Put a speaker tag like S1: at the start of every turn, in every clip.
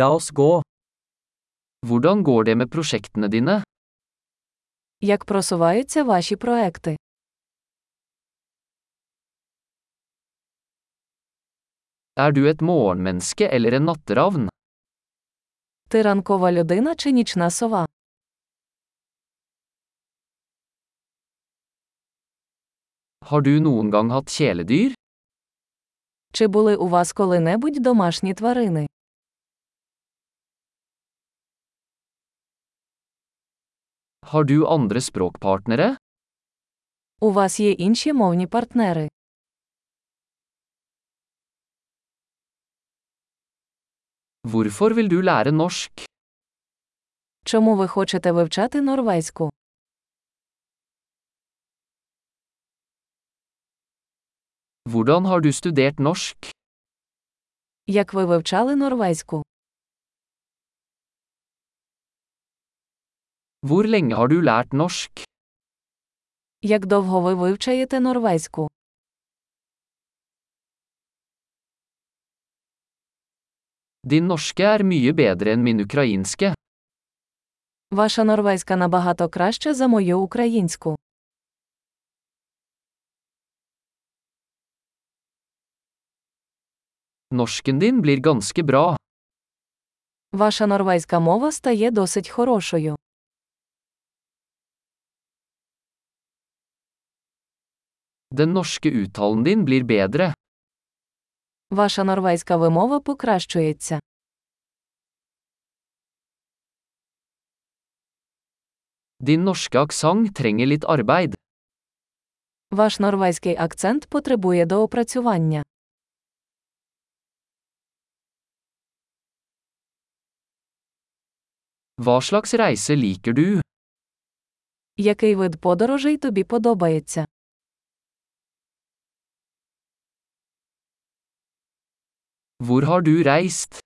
S1: La oss gå. Hvordan går det med prosjektene dine?
S2: Як просуваються ваші проекти?
S1: Er du et morgenmenneske eller en natteravn?
S2: Ти ранкова людина чи нічна сова?
S1: Har du noen gang hatt kjæledyr?
S2: Чи були у вас коли-небудь домашні тварини?
S1: Har du andre språkpartnere?
S2: У вас є інші мовні партнери.
S1: Hvorfor vil du lære norsk?
S2: Чому ви хочете вивчати норвезьку?
S1: Hvordan har du studert norsk?
S2: Як ви вивчали норвезьку?
S1: Hvor lenge har du lært norsk?
S2: Як довго ви вивчаєте норвезьку?
S1: Din norske er mye bedre enn min ukrainske.
S2: Ваша норвезька набагато краще за мою українську.
S1: Norsken din blir ganske bra.
S2: Ваша норвезька мова стає досить хорошою.
S1: Den norske uttalen din blir bedre.
S2: Ваша норвезька вимова покращується.
S1: Din norske aksang trenger litt arbeid.
S2: Ваш норвезький акцент потребує доопрацювання.
S1: Hva slags reise liker du?
S2: Який вид подорожей тобі подобається?
S1: Hvor har du reist?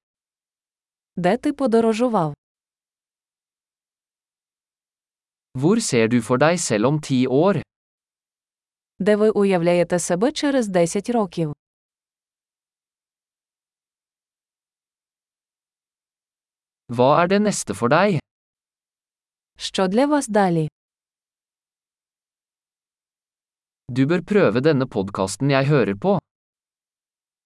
S2: Де ти подорожував?
S1: Hvor ser du for deg selv om ti år?
S2: Де ви уявляєте себе через 10 років?
S1: Hva er det neste for deg?
S2: Що для вас далі?
S1: Du bør prøve denne podkasten jeg hører på.